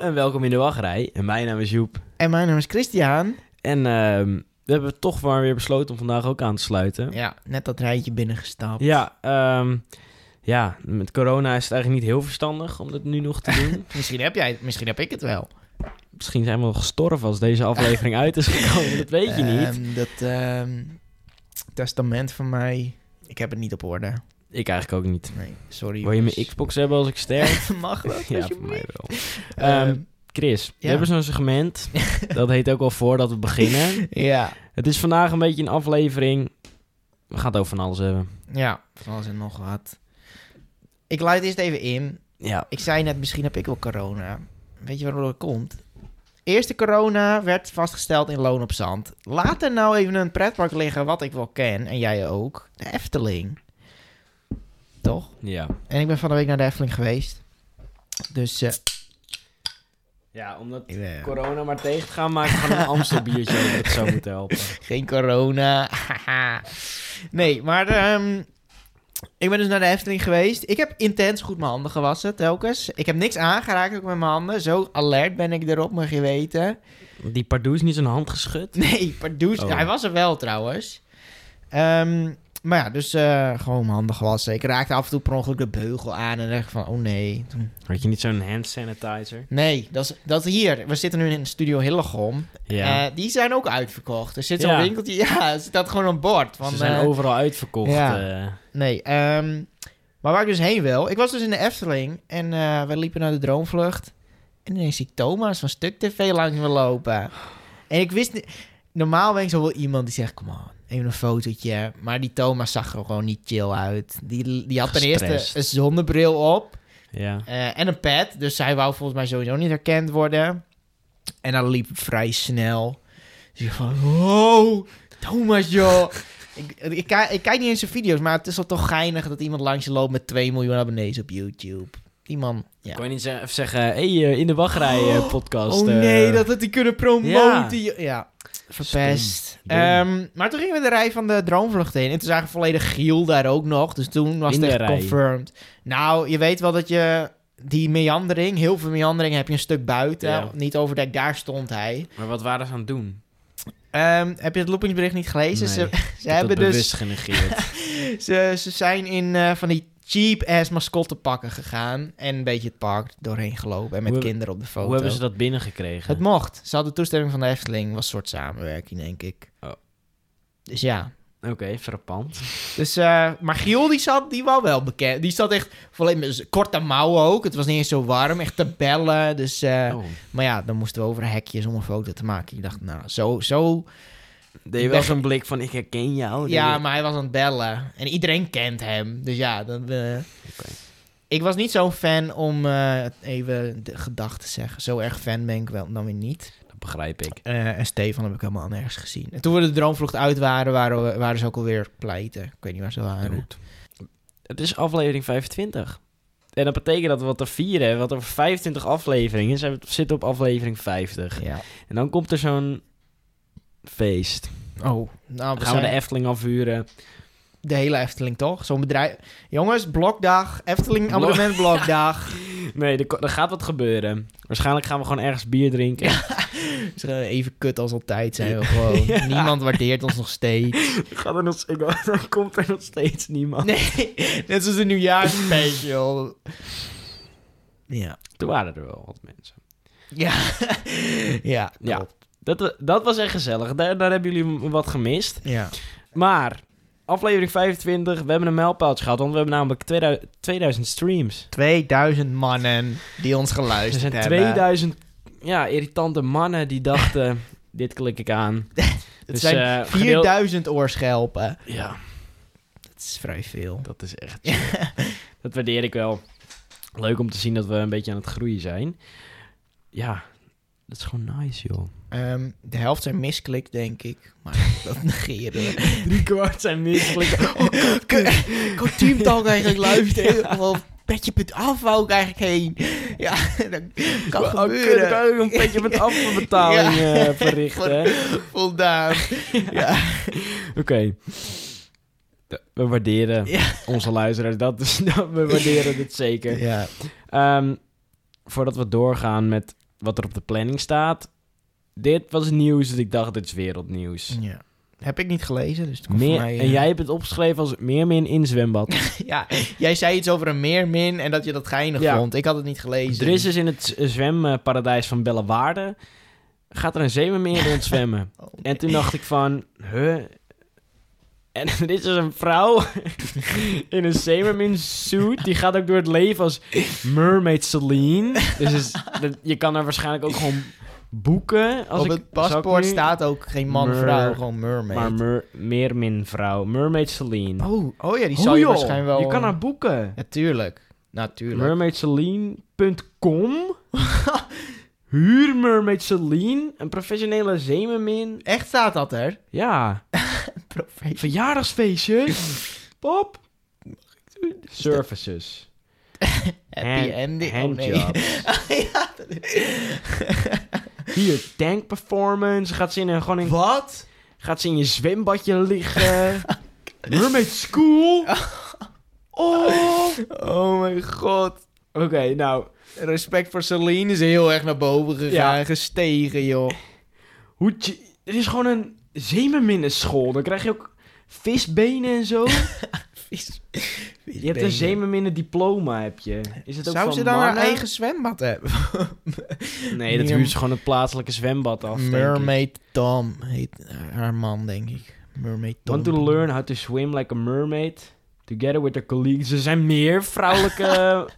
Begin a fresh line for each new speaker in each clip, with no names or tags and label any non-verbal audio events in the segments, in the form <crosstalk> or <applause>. en welkom in de wachtrij. En mijn naam is Joep.
En mijn naam is Christian.
En ehm, we hebben toch maar weer besloten om vandaag ook aan te sluiten.
Ja, net dat rijtje binnengestapt.
Ja, ehm, ja, met corona is het eigenlijk niet heel verstandig om dit nu nog te
<laughs>
doen.
Misschien heb jij het, misschien heb ik het wel.
Misschien zijn we wel gestorven als deze aflevering uit is gekomen. Dat weet je niet.
Ehm, dat ehm, testament van mij, ik heb het niet op orde.
Ik eigenlijk ook niet.
Nee, sorry.
Wil je
jongens.
mijn
<laughs>
Xbox hebben als ik sterf?
Mag dat?
ja, voor
alsjeblieft?
mij wel. Ehm,
Ehm,
Chris, we
ja.
hebben zo'n
<laughs>
segment. dat heet ook al voordat we beginnen.
ja.
Het is vandaag een beetje een aflevering. We gaan het over van alles hebben.
Ja, van alles en nog wat. Ik leid eerst even in.
Ja,
Ik zei net, misschien heb ik wel corona. Weet je waardoor dat komt? Eerste corona werd vastgesteld in Loon op Zand. Laat er nou even een pretpark liggen wat ik wel ken. En jij ook. De Efteling. Toch?
ja.
En ik ben van de week naar de Efteling geweest. Dus... eh,
Ja, omdat
ik ben-
corona maar tegen te gaan maken <laughs> van een Amstel biertje dat het zou moeten helpen.
Geen corona. <laughs> haha. nee, maar ehm, ik ben dus naar de Efteling geweest. Ik heb intens goed mijn handen gewassen telkens. Ik heb niks aangeraakt ook met mijn handen. Zo alert ben ik erop, mag je weten.
Die Pardoes niet zijn hand geschud?
<laughs> Nee, Pardoes.
Oh.
Hij was er wel trouwens. Ehm, maar ja, dus eh, gewoon mijn handen gewassen. Ik raakte af en toe per ongeluk de beugel aan en dacht van, oh nee. Toen-
Had je niet zo'n hand sanitizer?
Nee, dat is, dat is hier. We zitten nu in Studio Hillegom.
Ja.
Eh, die zijn ook uitverkocht. Er zit zo'n
Ja.
winkeltje. <laughs> Ja, er zit dat gewoon een bord. Van,
Ze zijn
eh,
overal uitverkocht.
ja.
eh.
Nee, ehm, maar waar ik dus heen wil. Ik was dus in de Efteling en eh, we liepen naar de Droomvlucht. En ineens zie ik Thomas van Stuk TV langs me lopen. En ik wist niet... Normaal ben ik zo wel iemand die zegt, kom on, even een fotootje. Maar die Thomas zag er gewoon niet chill uit. Die, die had ten
Gestrest.
eerste een zonnebril op
ja.
eh, en een pet. Dus hij wou volgens mij sowieso niet herkend worden. En dan liep het vrij snel. Dus ik van, wow, Thomas joh. ik, ik, ki- ik kijk niet eens zijn video's, maar het is wel toch geinig dat iemand langs je loopt met 2 miljoen abonnees op YouTube. Die man, ja.
Kon je niet ze- zeggen, hey, eh, in de wachtrij eh, podcast.
Oh
eh,
nee, dat we die kunnen promoten. Ja, verpest.
Stom. Dom.
Ehm, maar toen gingen we de rij van de droomvlucht in. En toen zagen we volledig Giel daar ook nog. Dus toen was
In
het
de
echt
rij.
confirmed. Nou, je weet wel dat je die meandering, heel veel meandering, heb je een stuk buiten.
Ja.
Niet overdekt, daar stond hij.
Maar wat waren ze aan het doen?
Ehm, heb je het loopingbericht niet gelezen?
Nee,
ze
ik
ze hebben dus,
bewust
<laughs>
genegeerd.
ze, ze zijn in eh, van die cheap-ass mascottenpakken gegaan. En een beetje het park doorheen gelopen. En met
Hoe heb-
kinderen op de foto.
Hoe hebben ze dat binnengekregen?
Het mocht. Ze hadden toestemming van de Efteling. Was een soort samenwerking, denk ik.
Oh.
Dus ja.
Oké, frappant.
Dus, eh, maar Giel, die zat, die was wel bekend. Die zat echt volledig met z- korte mouwen ook. Het was niet eens zo warm. Echt te bellen. Dus, eh,
Oh.
Maar ja, dan moesten we over hekjes om een foto te maken. Ik dacht, nou, zo,
Oh,
zo.
Deed je wel
Weg-
zo'n blik van, ik herken jou?
ja,
Denk
maar hij was aan het bellen. En iedereen kent hem. Dus ja, dan... eh,
Oké.
Ik was niet zo'n fan om eh, even de gedachten te zeggen. Zo erg fan ben ik wel dan weer niet.
ik- Dat begrijp ik.
Eh, en Stefan heb ik helemaal nergens gezien. En toen we de droomvlucht uit waren, waren, we, waren ze ook alweer pleiten. Ik weet niet waar ze waren.
Goed. Het is aflevering 25. En dat betekent dat we wat er vieren hebben. Wat over 25 afleveringen zijn we zitten op aflevering 50.
Ja.
En dan komt er zo'n feest.
Oh, nou,
Dan
we
gaan we de
zijn-
Efteling afhuren.
de, hele Efteling toch? Zo'n bedrijf. Jongens, blokdag. Efteling
Blok-
abonnement <laughs> blokdag.
Nee, er, ko- er gaat wat gebeuren. Waarschijnlijk gaan we gewoon ergens bier drinken.
Dus, eh, Even kut als altijd zijn <laughs> we gewoon.
Ja.
Niemand waardeert ons nog steeds.
Gaat er nog, ik- dan komt er nog steeds niemand.
Nee, <laughs> net zoals een nieuwjaarsspecial. Ja.
Toen waren er wel wat mensen.
Ja. <laughs> ja,
Ja.
klopt.
Dat, wa- dat was echt gezellig. Daar, daar hebben jullie m- wat gemist.
Ja.
Maar, aflevering 25, we hebben een mijlpaaltje gehad. Want we hebben namelijk 2000, 2000 streams.
2000 mannen die ons
Er
geluisterd
zijn
hebben.
2000 ja, irritante mannen die dachten, <laughs> dit klik ik aan.
Het zijn
eh, gedeeld-
4000 oorschelpen.
Ja,
Dat is vrij veel.
dat is echt... <laughs> dat waardeer ik wel. Leuk om te zien dat we een beetje aan het groeien zijn. Ja, dat is gewoon nice,
<laughs>
joh.
Ehm, de helft zijn misklik, denk ik. Maar <laughs> dat Oh, negeren we.
Drie kwart zijn misselijk.
Ik had Team Talk eigenlijk
<laughs>
luisteren. Of petje.af wou ik eigenlijk heen. Ja, <laughs> dat <laughs> kan
Oh, kut,
gebeuren.
ik kan ook een petje
<laughs>
met afbetaling
Ja.
eh,
<laughs>
verrichten. hè.
Voldaan. Ja.
Oké. We waarderen
Ja.
onze luisteraars. Dat <laughs> is, dat, we waarderen dit zeker.
ja.
Ehm, voordat we doorgaan met wat er op de planning staat. Dit was nieuws dat ik dacht, dit is wereldnieuws.
Ja. Heb ik niet gelezen, dus het Mm, komt
Meer,
voor mij... eh,
en jij hebt het opgeschreven als meermin in zwembad.
<laughs> Ja, jij zei iets over een meermin en dat je dat geinig
Ja.
vond. Ik had het niet gelezen.
er is dus in het eh, zwemparadijs van Bellewaarde... gaat er een zeemermeer
<laughs>
rondzwemmen.
Oh,
En toen dacht ik van, huh? En <laughs> er is dus een vrouw <laughs> in een zeemermin suit. Die gaat ook door het leven als Mermaid Celine. Dus is, dat- je kan haar waarschijnlijk ook gewoon boeken. Als
Op
ik,
het
zou ik
paspoort
nu-
staat ook geen man,
Mer-
vrouw, gewoon mermaid.
Maar mer, meermin vrouw. Mermaid Celine.
oh, oh ja, die
Hoe
zou je
joh?
waarschijnlijk wel... Nou,
Je kan haar boeken.
Natuurlijk, natuurlijk.
Mermaidceline.com <laughs> Huur Mermaid Celine. Een professionele zeemermin.
Echt staat dat er?
Ja.
<laughs> Profeet.
Verjaardagsfeestje. Pop. Services.
Happy ending. Oh, nee.
handjobs.
Ja, dat is-
Hier, tank performance. Gaat ze in, een, gewoon in,
<laughs> Wat?
gaat ze in je zwembadje liggen. Mermaid
<laughs>
school. Oh. Oké,
Oh mijn god.
nou.
Respect voor Celine is heel erg naar boven gegaan.
Ja.
Gestegen, joh.
Hoe tje- er is gewoon een zeemerminnenschool. Dan krijg je ook visbenen en zo.
<laughs>
Je hebt een zeemerminnen diploma, heb je. Is het ook
Zou
van
ze dan haar
mannen?
eigen zwembad hebben?
<laughs> Nee, dat
Meer-
huurt ze gewoon het plaatselijke zwembad
<laughs>
af, denk ik.
Mermaid Tom heet haar man, denk ik. Mermaid Tom.
Want Want to learn how to swim like a mermaid together with their colleagues. Er zijn meer
<laughs>
vrouwelijke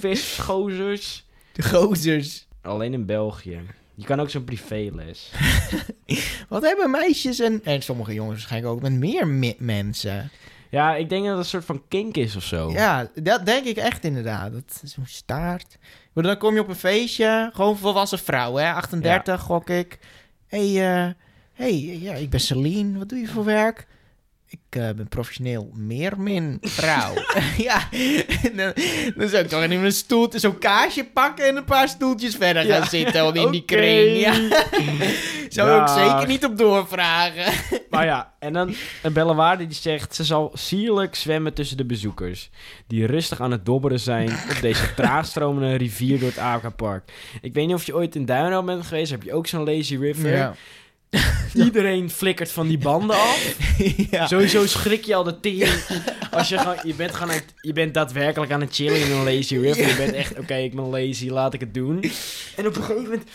visgozers.
De gozers.
Alleen in België. Je kan ook zo'n privéles.
Wat hebben meisjes en... En sommige jongens waarschijnlijk ook met meer mi- mensen.
Ja, ik denk dat het een soort van kink is of zo.
Ja, dat denk ik echt inderdaad. Dat is zo'n staart. Maar dan kom je op een feestje. Gewoon volwassen vrouw, hè. 38, gok ik. Hé, hey, eh, hey, ja, ik ben Celine. Wat doe je voor werk? Ik eh, ben professioneel meermin
<laughs>
vrouw. <laughs> ja, en dan, dan zou ik toch even een stoel, zo'n kaasje pakken en een paar stoeltjes verder gaan
Ja.
zitten om in
<laughs>
die
Oké.
kring. Ja. Zou ik ook
Dag.
zeker niet op doorvragen.
Maar ja, en dan een bellewaarde die zegt... ze zal sierlijk zwemmen tussen de bezoekers... die rustig aan het dobberen zijn... op deze traagstromende rivier door het Aquapark. Ik weet niet of je ooit in Duinhoop bent geweest... heb je ook zo'n lazy river. Iedereen flikkert van die banden af...
<laughs> ja.
Sowieso schrik je al de tering. Als je, gewoon, je, bent gewoon aan het- je bent daadwerkelijk aan het chillen in een lazy river. Je bent echt, oké, ik ben lazy, laat ik het doen. En op een gegeven moment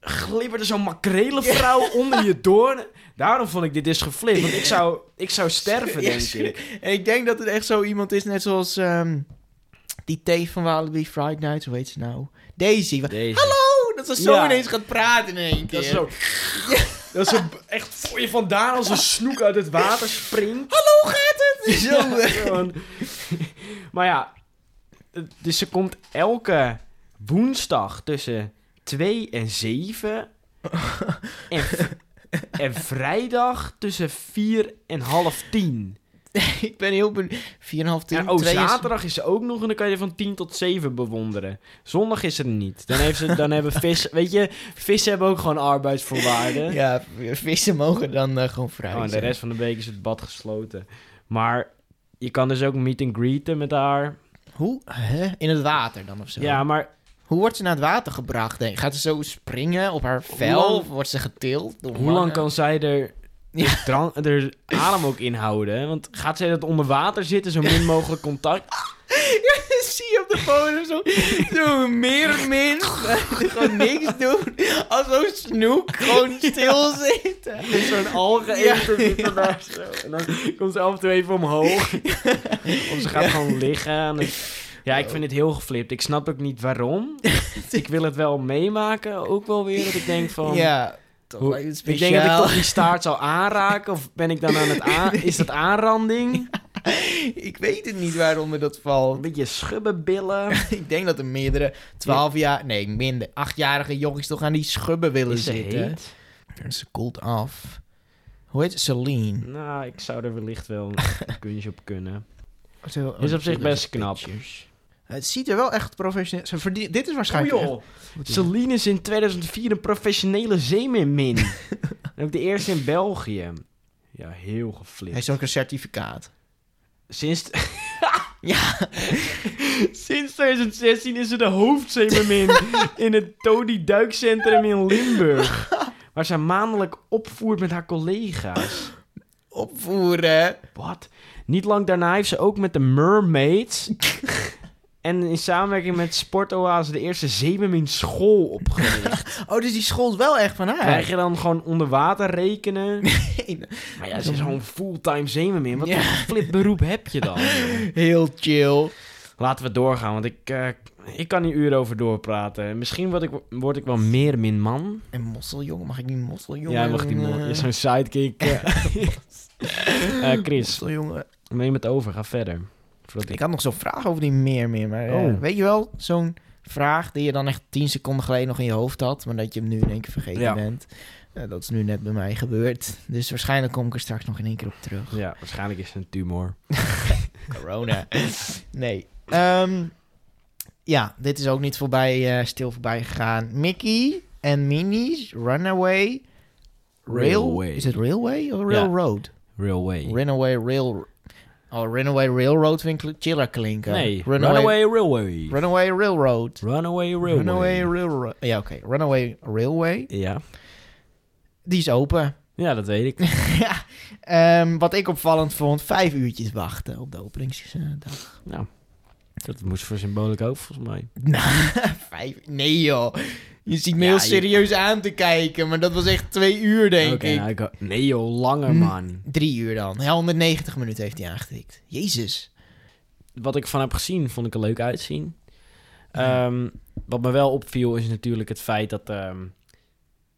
glibberde zo'n makrelenvrouw onder je door. Daarom vond ik dit is geflipt, want ik zou, ik zou sterven, denk ik.
En ik denk dat het echt zo iemand is, net zoals ehm, die thee van Walibi Friday Night, hoe heet ze nou? Daisy. Wa-
Deze.
Hallo! Dat ze zo
Ja.
ineens gaat praten in één keer.
Dat is zo... Dat is zo echt voor je vandaan als een snoek uit het water springt.
Hallo, gaat het? Zo.
<laughs>
<laughs>
Ja, gewoon. maar ja, het- dus ze komt elke woensdag tussen 2 en
<laughs>
7. en, v- en vrijdag tussen 4 en half 10.
eh, ik ben heel benieuwd. 4,5 tien,
En oh,
twee is-
zaterdag is ze ook nog en dan kan je van 10 tot 7 bewonderen. Zondag is er niet. Dan, heeft ze, dan hebben
<laughs>
vissen, weet je, vissen hebben ook gewoon arbeidsvoorwaarden.
Ja, vissen mogen dan eh, gewoon vrij
Oh, en de
zijn.
rest van de week is het bad gesloten. Maar je kan dus ook meet and greeten met haar.
Hoe? Hè? In het water dan of zo?
Ja, maar
Hoe wordt ze naar het water gebracht? Denk? ik? Gaat ze zo springen op haar vel?
lang-
Of wordt ze getild? door
Hoe lang
mannen?
kan zij <laughs> er, de dran- er adem ook in houden? hè? Want gaat zij dat onder water zitten, zo min mogelijk <laughs> contact?
<laughs> zie je op de foto zo, zo'n meermin. die gewoon niks doen. Als zo'n
<laughs>
snoek gewoon stil zitten.
Zo'n
Ja.
algeëter ja. <laughs> daar zo. En dan komt ze af en toe even omhoog. of ze gaat gewoon liggen. aan het- Ja, ik vind het heel geflipt. Ik snap ook niet <laughs> waarom. ik wil het wel meemaken, ook wel weer. Dat ik denk van...
Ja, toch
Hoe-
lijkt het
Ik denk dat ik
speciaal.
toch die staart zal aanraken. Of ben ik dan aan het <laughs> aan... Is dat aanranding?
<laughs> ik, weet het niet waaronder dat
Een
valt. <laughs>
beetje schubbenbillen.
Ik denk dat er meerdere 12 jaar, nee minder, 8-jarige jongens toch aan die schubben willen
Is ze
zitten.
heet?
En Ze koelt af. Hoe heet ze? Celine.
Nou, ik zou er wellicht wel een kunstje op kunnen.
Zo-
Is op zich best knap.
Pictures. Het ziet er wel echt professioneel. Ze verdient, dit is
Oh
waarschijnlijk.
joh, Celine is in 2004 een professionele zeemermin. en ook de eerste in België. Ja, heel
Hij
geflipt.
is ook een certificaat.
Sinds... <laughs> Sinds 2016 is ze de hoofdzeemermin in het Todi Duikcentrum in Limburg. Waar zij maandelijk opvoert met haar collega's.
Opvoeren.
Wat? Niet lang daarna heeft ze ook met de Mermaids... en in samenwerking met Sportoase de eerste zeemermin school opgericht.
Oh, dus die school is wel echt van haar.
Krijg je dan gewoon onder water rekenen?
Nee.
Maar ja, ze is gewoon fulltime zeemermin. Wat voor flipberoep heb je dan? joh?
<laughs> Heel chill.
Laten we doorgaan, want ik, eh, ik kan hier uren over doorpraten. Misschien word ik, word ik wel meer min man.
En mosseljongen, mag ik niet mosseljongen?
Ja, mag die man. Je is zo'n sidekick. eh. Eh, Chris,
Mosseljongen.
neem het over. Ga verder. Voordat
Ik
ik...
had nog zo'n vraag over die meer meer, maar eh,
Oh.
weet je wel, zo'n vraag die je dan echt tien seconden geleden nog in je hoofd had, maar dat je hem nu in één keer vergeten
Ja.
bent. Eh, dat is nu net bij mij gebeurd, dus waarschijnlijk kom ik er straks nog in één keer op terug.
Ja, waarschijnlijk is het een tumor.
Corona. nee. Ehm, ja, dit is ook niet voorbij, eh, stil voorbij gegaan. Mickey en Minnie's Runaway
Railway.
Is het Railway of Railroad?
Railway.
Runaway Rail... Oh, Runaway Railroad vind ik chiller klinken.
nee,
Runaway,
Runaway Railway.
Runaway Railroad.
Runaway Railway.
Runaway Railroad. Ja, oké. Runaway Railway.
Ja.
Die is open.
ja, dat weet
<laughs>
ik.
ja. Ehm, wat ik opvallend vond, vijf uurtjes wachten op de openingsdag.
nou, dat moest voor symboliek ook, volgens mij.
Nou, vijf Nee joh. Je ziet me
Ja,
heel
je-
serieus aan te kijken, maar dat was echt twee uur denk
Oké,
ik.
nou, ik ho- nee joh, langer
Hm.
man.
Drie uur dan. Ja, 190 minuten heeft hij aangetikt. Jezus.
wat ik van heb gezien, vond ik er leuk uitzien.
Ja.
Ehm, wat me wel opviel is natuurlijk het feit dat... ehm,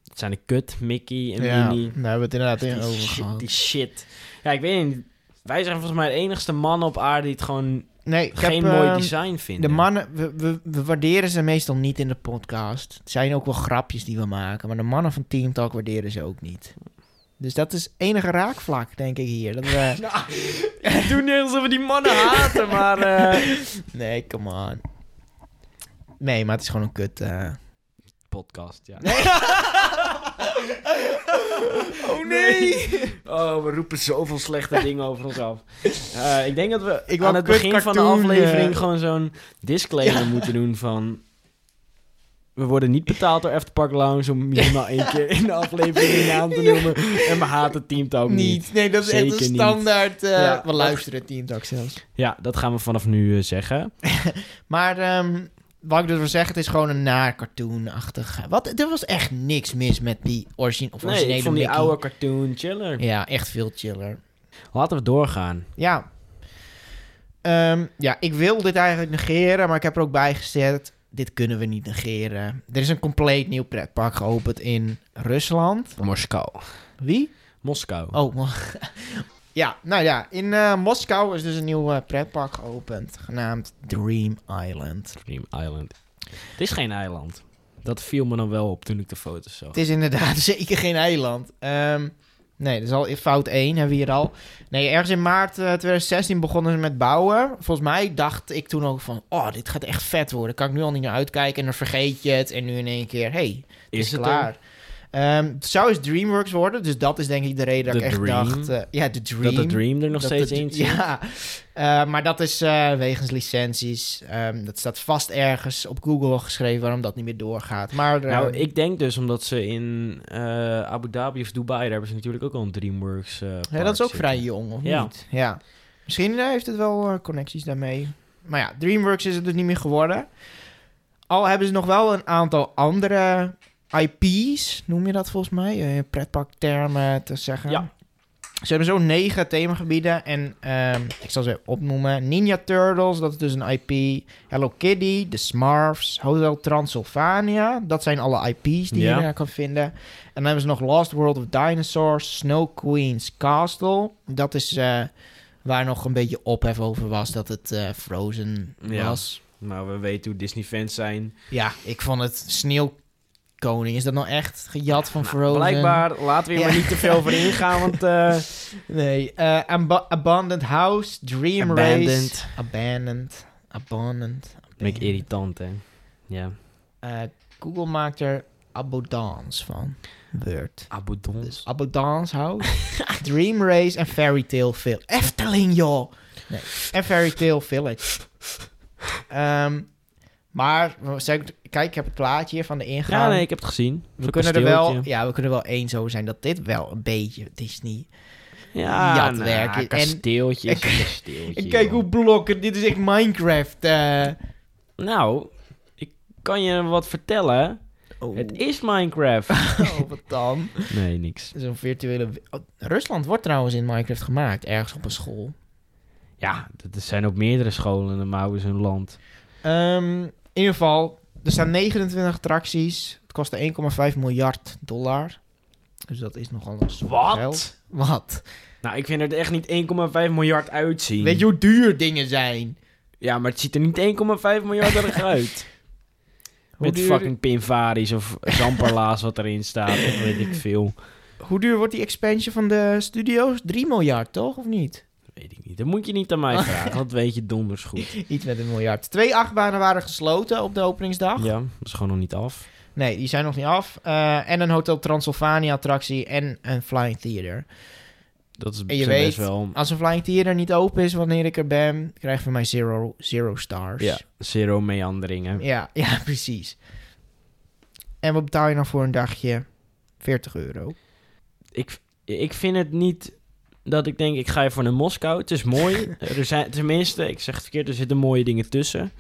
het zijn de kut, Mickey en
ja,
Minnie.
daar hebben we het inderdaad in
Die
over
shit,
gehad.
die shit. Ja, ik weet niet. Wij zijn volgens mij de enigste mannen op aarde die het gewoon
Nee, ik
geen
heb,
mooi
ehm,
design vinden.
De mannen, we, we, we waarderen ze meestal niet in de podcast. Het zijn ook wel grapjes die we maken, maar de mannen van Team Talk waarderen ze ook niet. Dus dat is enige raakvlak, denk ik hier. Dat
<laughs>
we,
Nou, ik doe niet alsof we die mannen haten, maar... eh,
nee, come on. Nee, maar het is gewoon een kut. eh,
Podcast, ja. <laughs>
Oh, nee.
Oh, we roepen zoveel slechte dingen over ons af. Eh, ik denk dat we
Ik wou
aan het
kut
begin van de
cartoon,
aflevering
eh.
gewoon zo'n
<laughs>
disclaimer moeten doen van... We worden niet betaald door Afterpark Lounge om minimaal één keer in de aflevering een naam te noemen. En we haten Team Talk niet.
Niet. Nee, dat is echt
Zeker
een
niet.
standaard. eh,
Ja.
We luisteren Team Talk zelfs.
Ja, dat gaan we vanaf nu eh, zeggen.
Maar ehm, wat ik dus wil zeggen, het is gewoon een naar cartoonachtig. eh, Wat, er was echt niks mis met die origine, of originele
Nee, ik vond die
Mickey.
oude cartoon chiller.
Ja, echt veel chiller.
Laten we doorgaan.
Ja. Ehm, ja, ik wil dit eigenlijk negeren, maar ik heb er ook bij gezet... dit kunnen we niet negeren. Er is een compleet nieuw pretpark geopend in Rusland.
Moskou.
Wie?
Moskou.
Oh, mo- <laughs> ja, nou ja. In eh, Moskou is dus een nieuw eh, pretpark geopend, genaamd Dream Island.
Dream Island. Het is geen eiland. Dat viel me dan wel op toen ik de foto's zag.
Het is inderdaad <laughs> zeker geen eiland. Ehm, nee, dat is al fout 1, hebben we hier al. Nee, ergens in maart eh, 2016 begonnen ze met bouwen. Volgens mij dacht ik toen ook van, oh, dit gaat echt vet worden. Kan ik nu al niet naar uitkijken en dan vergeet je het. En nu in één keer, hey, het is,
het
klaar. Ehm, het zou eens DreamWorks worden, dus dat is denk ik de reden dat
De
ik echt
Dream.
dacht... eh, ja, de
er?
Dream.
Dat de Dream er nog
Dat
steeds
het- <laughs>
in zit.
Ja, Eh, maar dat is eh, wegens licenties. Ehm, dat staat vast ergens op Google geschreven waarom dat niet meer doorgaat. Maar
Nou,
eh,
ik denk dus omdat ze in eh, Abu Dhabi of Dubai, daar hebben ze natuurlijk ook al een DreamWorks. eh,
ja,
park
dat is ook
zitten.
vrij jong, of
Ja.
niet? Ja. Misschien eh, heeft het wel eh, connecties daarmee. Maar ja, DreamWorks is het dus niet meer geworden. Al hebben ze nog wel een aantal andere IP's, noem je dat volgens mij? eh, in pretparktermen te zeggen.
Ja.
Ze hebben zo negen themagebieden. En ehm, ik zal ze even opnoemen. Ninja Turtles, dat is dus een IP. Hello Kitty, The Smurfs, Hotel Transylvania. Dat zijn alle IP's die
Ja.
je daar kan vinden. En dan hebben ze nog Lost World of Dinosaurs, Snow Queen's Castle. Dat is eh, waar nog een beetje ophef over was dat het eh, Frozen
Ja.
was.
Maar we weten hoe Disney-fans zijn.
Ja, ik vond het Sneeuwkoning. Is dat nou echt gejat van Frozen?
Blijkbaar, laten we hier
Ja.
maar niet te veel
<laughs>
over ingaan, want eh,
Nee, eh, Ab- Abandoned House, Dream Race.
Abandoned.
Abandoned. Abandoned.
ben ik irritant, hè. Ja.
Eh, Google maakt er Abondance van. Word.
Abodons. <laughs>
Dus Abondance House, Dream Race en Fairy Tale Film. Efteling, joh! En Fairy Tale Village. Ehm, maar, zeg- kijk, ik heb het plaatje hier van de ingang.
Ja, nee, ik heb het gezien.
we kunnen er wel, ja, we kunnen wel eens over zijn dat dit wel een beetje Disney.
ja,
jatwerk en-
kasteeltjes.
<laughs> en-
een kasteeltje,
En kijk
joh.
hoe blokken, dit is echt Minecraft. eh.
Nou, ik kan je wat vertellen.
Oh.
Het is Minecraft.
<laughs> Oh, wat dan?
nee, niks.
Zo'n virtuele... we- Oh, Rusland wordt trouwens in Minecraft gemaakt, ergens op een school.
Ja, dat- er zijn ook meerdere scholen in Mouwen hun land.
Ehm, in ieder geval, er staan 29 attracties. Het kostte 1,5 miljard dollar. Dus dat is nogal een som geld. Wat?
Nou, ik vind het echt niet 1,5 miljard uitzien.
Weet je hoe duur dingen zijn?
Ja, maar het ziet er niet 1,5 miljard
<laughs>
erg uit.
Hoe
Met
duur-
fucking pinvaris of zamperlaas wat erin staat. Of weet ik veel.
Hoe duur wordt die expansion van de studio's? 3 miljard, toch? Of niet?
Weet ik niet. Dat moet je niet aan mij
Ah.
vragen. Dat weet je donders goed.
Iets met een miljard. Twee achtbanen waren gesloten op de openingsdag.
Ja, dat is gewoon nog niet af.
Nee, die zijn nog niet af. Eh, en een Hotel Transylvania attractie en een Flying Theater.
Dat is
En je
zijn
weet-
best wel...
Als een Flying Theater niet open is wanneer ik er ben, krijg je mij zero, zero stars.
Ja, zero meanderingen.
Ja, <laughs> ja, precies. En wat betaal je dan voor een dagje? 40 euro.
ik, ik vind het niet dat ik denk, ik ga even naar Moskou. Het is
<laughs>
mooi. er zijn, tenminste, ik zeg het verkeerd, er zitten mooie dingen tussen.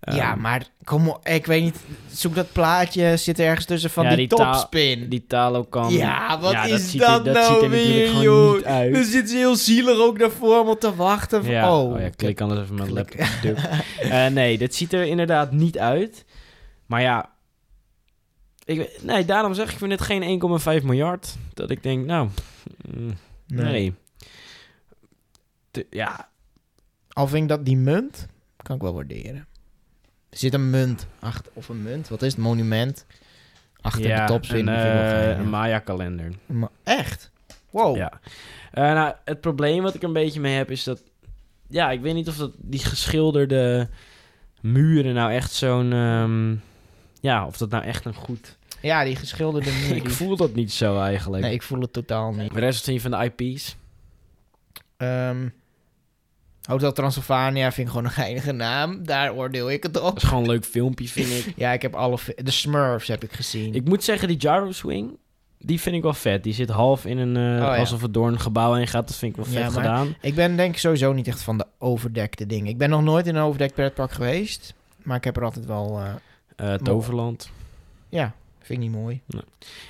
Ehm,
ja, maar kom op, ik weet niet. Zoek dat plaatje, zit er ergens tussen van
Ja,
die,
die taal-
topspin.
Die Talokan.
ja, wat
ja, dat
is
ziet
dat,
er- dat
nou
ziet er natuurlijk
weer,
gewoon
joh?
niet uit.
Dan zit ze heel zielig ook daarvoor om op te wachten. van-
Ja,
oh,
oh ja, klik anders even mijn
Klik.
laptop.
<laughs>
Duk. Eh, nee, dat ziet er inderdaad niet uit. Maar ja, ik, weet- nee, daarom zeg ik, ik vind het geen 1,5 miljard. Dat ik denk, nou, mm, nee. Te- ja,
Al vind ik dat die munt, kan ik wel waarderen. Er zit een munt achter, of een munt, wat is het, monument? Achter
ja,
de topspin.
een,
die vind ik wel
eh,
fijn, ja.
een Maya-kalender.
Maar echt? Wow.
Ja. Eh, nou, het probleem wat ik er een beetje mee heb is dat... Ja, ik weet niet of dat die geschilderde muren nou echt zo'n... ehm, ja, of dat nou echt een
<laughs>
goed...
Ja, die geschilderde
<laughs>
muur.
ik
die-
voel dat niet zo eigenlijk.
Nee, ik voel het totaal niet.
De rest vind je van de IP's.
Ehm, Hotel Transylvania vind ik gewoon een geinige naam. Daar oordeel ik het op.
Dat is gewoon een leuk filmpje, vind
<laughs>
ik.
Ja, ik heb alle... fi- De Smurfs heb ik gezien.
Ik moet zeggen, die Gyro Swing... Die vind ik wel vet. Die zit half in een... eh,
Oh, ja.
Alsof het door een gebouw heen gaat. Dat vind ik wel
Ja,
vet
maar-
gedaan.
Ik ben denk ik sowieso niet echt van de overdekte dingen. Ik ben nog nooit in een overdekt pretpark geweest. Maar ik heb er altijd wel... eh,
Eh Toverland.
ja, vind ik niet mooi.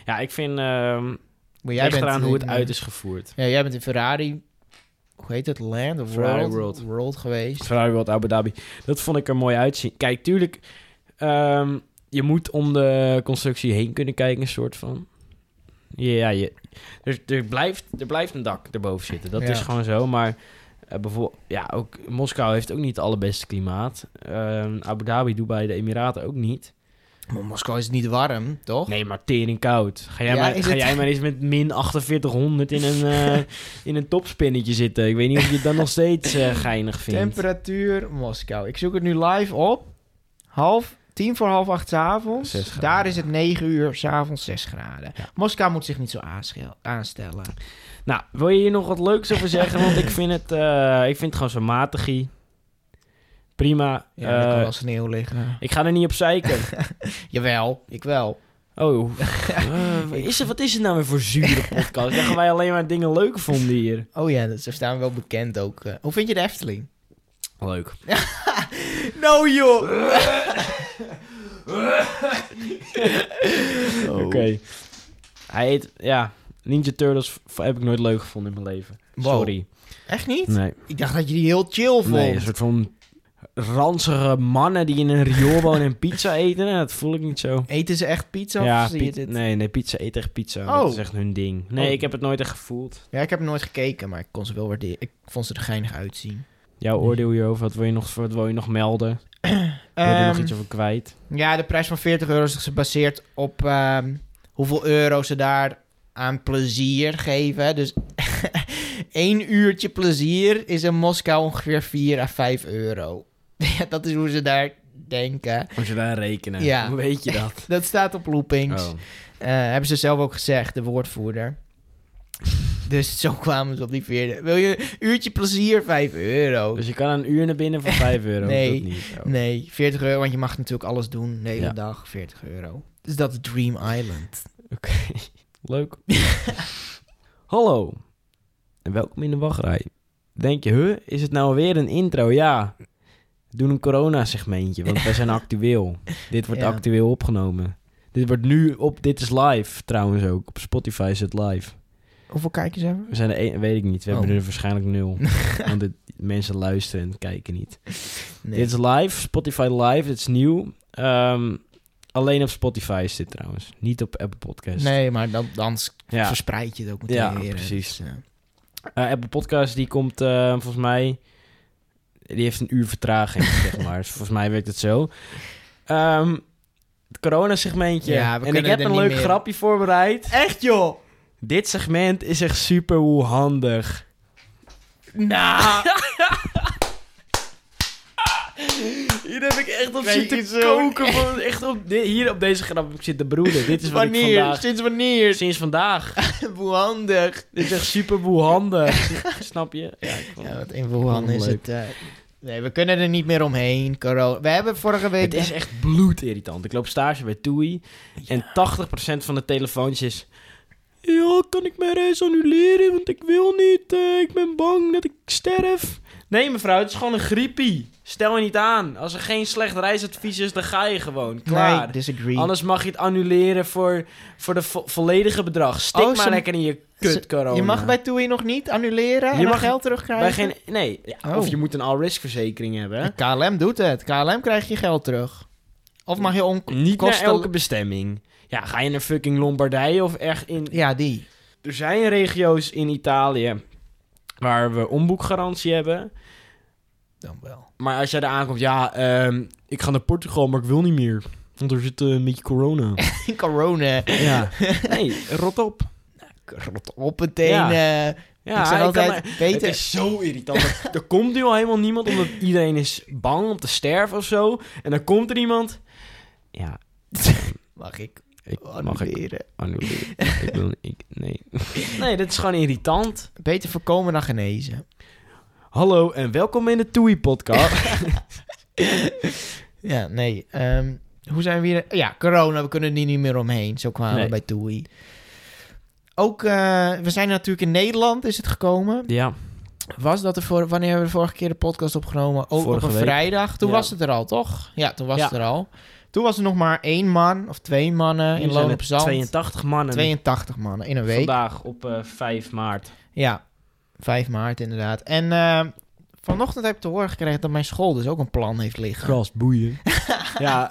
Ja, ik vind... ehm
Maar
ligt eraan hoe het
in-
uit is gevoerd.
Ja, jij bent in Ferrari... Hoe heet het? Land of
Ferrari
World?
World.
geweest.
Ferrari World Abu Dhabi. Dat vond ik er mooi uitzien. Kijk, tuurlijk, ehm, je moet om de constructie heen kunnen kijken, een soort van. Ja, ja je, er, er, blijft, er blijft een dak erboven zitten. Dat
Ja.
is gewoon zo. Maar eh bijvoorbeeld, ja, ook Moskou heeft ook niet het allerbeste klimaat. Ehm, Abu Dhabi, Dubai, de Emiraten ook niet.
Maar Moskou is niet warm, toch?
Nee, maar tering koud. Ga jij,
Ja,
maar,
is
ga
het-
jij maar eens met min 4800 in een,
<laughs>
eh, in een topspinnetje zitten. Ik weet niet of je het dan nog steeds eh, geinig vindt.
Temperatuur Moskou. Ik zoek het nu live op. Half, tien voor half acht 's
Zes
avonds.
graden.
Daar is het negen uur 's avonds 6 graden.
Ja.
Moskou moet zich niet zo aanschel- aanstellen.
Nou, wil je hier nog wat leuks over zeggen? Want ik vind het, eh, ik vind het gewoon zo matigie. Prima.
Ja, er kan
Eh,
wel sneeuw liggen.
ik ga er niet op zeiken.
<laughs> Jawel, ik wel.
Oh, eh, is het, <laughs> wat is het nou weer voor zure podcast? Dan gaan wij alleen maar dingen leuk vonden hier.
Oh ja, dat- ze staan wel bekend ook. eh. hoe vind je de Efteling?
Leuk.
Nou joh!
Oké. Hij heet, ja, Ninja Turtles v- heb ik nooit leuk gevonden in mijn leven.
Wow.
Sorry.
Echt niet?
Nee,
Ik dacht dat je die heel chill vond.
nee, een soort van ranzige mannen die in een riool wonen en pizza eten. Nou, Dat voel ik niet zo.
Eten ze echt pizza of
ja,
zie je
piet-
dit?
nee, nee, pizza eet echt pizza.
Oh.
Dat is echt hun ding. Nee,
Oh.
ik heb het nooit echt gevoeld.
Ja, ik heb nooit gekeken, maar ik kon ze wel waarderen. Ik vond ze er geinig uitzien.
Jouw oordeel hierover, wat wil je nog, wat wil je nog melden? Wil je er nog
Ehm,
iets over kwijt?
Ja, de prijs van 40 euro is dus gebaseerd op ehm, hoeveel euro ze daar aan plezier geven. Dus <laughs> één uurtje plezier is in Moskou ongeveer 4 à 5 euro. <laughs> Ja, dat is hoe ze daar denken.
Moet je daar rekenen?
Ja.
Hoe weet je
<laughs>
dat? Oh.
Dat staat op loopings. Eh, hebben ze zelf ook gezegd, de woordvoerder. Dus zo kwamen ze op die vierde. Wil je een uurtje plezier? 5 euro.
Dus je kan een uur naar binnen
<laughs>
voor 5 euro.
Nee.
Dat niet. Oh.
Nee, 40 euro, want je mag natuurlijk alles doen. De hele
Ja.
dag, 40 euro. Dus dat is Dream Island.
Oké, <laughs>
<laughs>
leuk. Hallo en welkom in de wachtrij. Denk je, huh, is het nou weer een intro? Ja, doe een corona-segmentje, want
<laughs>
wij zijn actueel. Dit wordt
Ja.
actueel opgenomen. Dit wordt nu op, dit is live trouwens ook. Op Spotify is het live.
Hoeveel kijkers hebben we?
We zijn er één, weet ik niet. We
Oh.
hebben er waarschijnlijk
<laughs>
nul. want dit- mensen luisteren en kijken niet.
Nee.
Dit is live, Spotify live, dit is nieuw. Ehm, alleen op Spotify is dit trouwens, niet op Apple Podcasts.
nee, maar dan, dan s-
Ja.
verspreid je het ook meteen
Ja,
weer.
precies.
Dus, ja.
Eh, Apple Podcast die komt eh, volgens mij. Die heeft een uur
<laughs>
vertraging, zeg maar. Dus volgens mij werkt het zo. Ehm, het corona-segmentje.
Ja, we
en ik
kunnen
heb
er
een
niet
leuk
meer.
grapje voorbereid.
Echt joh!
Dit segment is echt super hoe handig.
Nou,
<laughs> Hier heb ik echt op
Nee,
zitten
zo-
koken. Van, <laughs> echt op, di- hier op deze grap heb ik zitten broeden. Dit is wat ik
wanneer?
vandaag...
Sinds wanneer? <laughs>
Sinds vandaag.
Hoe handig.
Dit is echt super hoe handig.
<laughs>
Snap je? Ja, ik vond-
Ja, wat in Wuhan is
Leuk.
het... eh, nee, we kunnen er niet meer omheen, corona. We hebben vorige week...
Het is echt bloedirritant. Ik loop stage bij TUI en 80% van de telefoontjes is... Ja, kan ik mijn reis annuleren? Want ik wil niet. eh, ik ben bang dat ik sterf. Nee, mevrouw, het is gewoon een griepie. Stel je niet aan. Als er geen slecht reisadvies is, dan ga je gewoon. Klaar.
Nee, disagree.
Anders mag je het annuleren voor, voor de vo- volledige bedrag. Stik
Oh, ze-
maar lekker in je kut corona.
Je mag bij TUI nog niet annuleren en
Je
je
mag-
mag geld
bij
terugkrijgen?
geen... Nee, ja,
Oh.
of je moet een all-risk verzekering hebben.
Ja, KLM doet het. KLM krijgt je geld terug. Of mag je om...
Niet
Kosten-
naar elke bestemming. Ja, ga je naar fucking Lombardije of echt in
Ja, die.
Er zijn regio's in Italië waar we omboekgarantie hebben.
Dan wel.
Maar als jij daar aankomt, ja, ehm, ik ga naar Portugal, maar ik wil niet meer. Want er zit eh, een beetje corona.
corona.
ja. Nee, rot op.
Rot op meteen. eh,
Ja,
ik zeg
ik kan
altijd,
maar- Het
beter...
is zo irritant. Er- er komt nu al helemaal niemand, omdat iedereen is bang om te sterven of zo. En dan komt er iemand. Ja,
Mag ik
ik,
Oh,
mag ik
annuleren?
annuleren? ik wil, ik, nee. <laughs> nee, dat is gewoon irritant.
Beter voorkomen dan genezen.
Hallo en welkom in de Toei-podcast.
Ja, nee. ehm, hoe zijn we hier... Ja, corona. We kunnen er niet meer omheen. Zo kwamen
Nee.
we bij TUI. Ook, eh, we zijn natuurlijk in Nederland is het gekomen.
<laughs> ja.
Was dat er voor, wanneer hebben we de vorige keer de podcast opgenomen? Ook
Vorige
op een
week.
vrijdag. Toen
Ja.
was het er al, toch? Ja, toen was
Ja.
het er al. Toen was er nog maar één man of twee mannen
Nu
in
zijn
Loon
het
op Zand.
82 mannen.
82 mannen in een week.
Vandaag op eh, 5 maart.
Ja, 5 maart inderdaad. En eh, vanochtend heb ik te horen gekregen dat mijn school dus ook een plan heeft liggen. <laughs>
boeien. ja.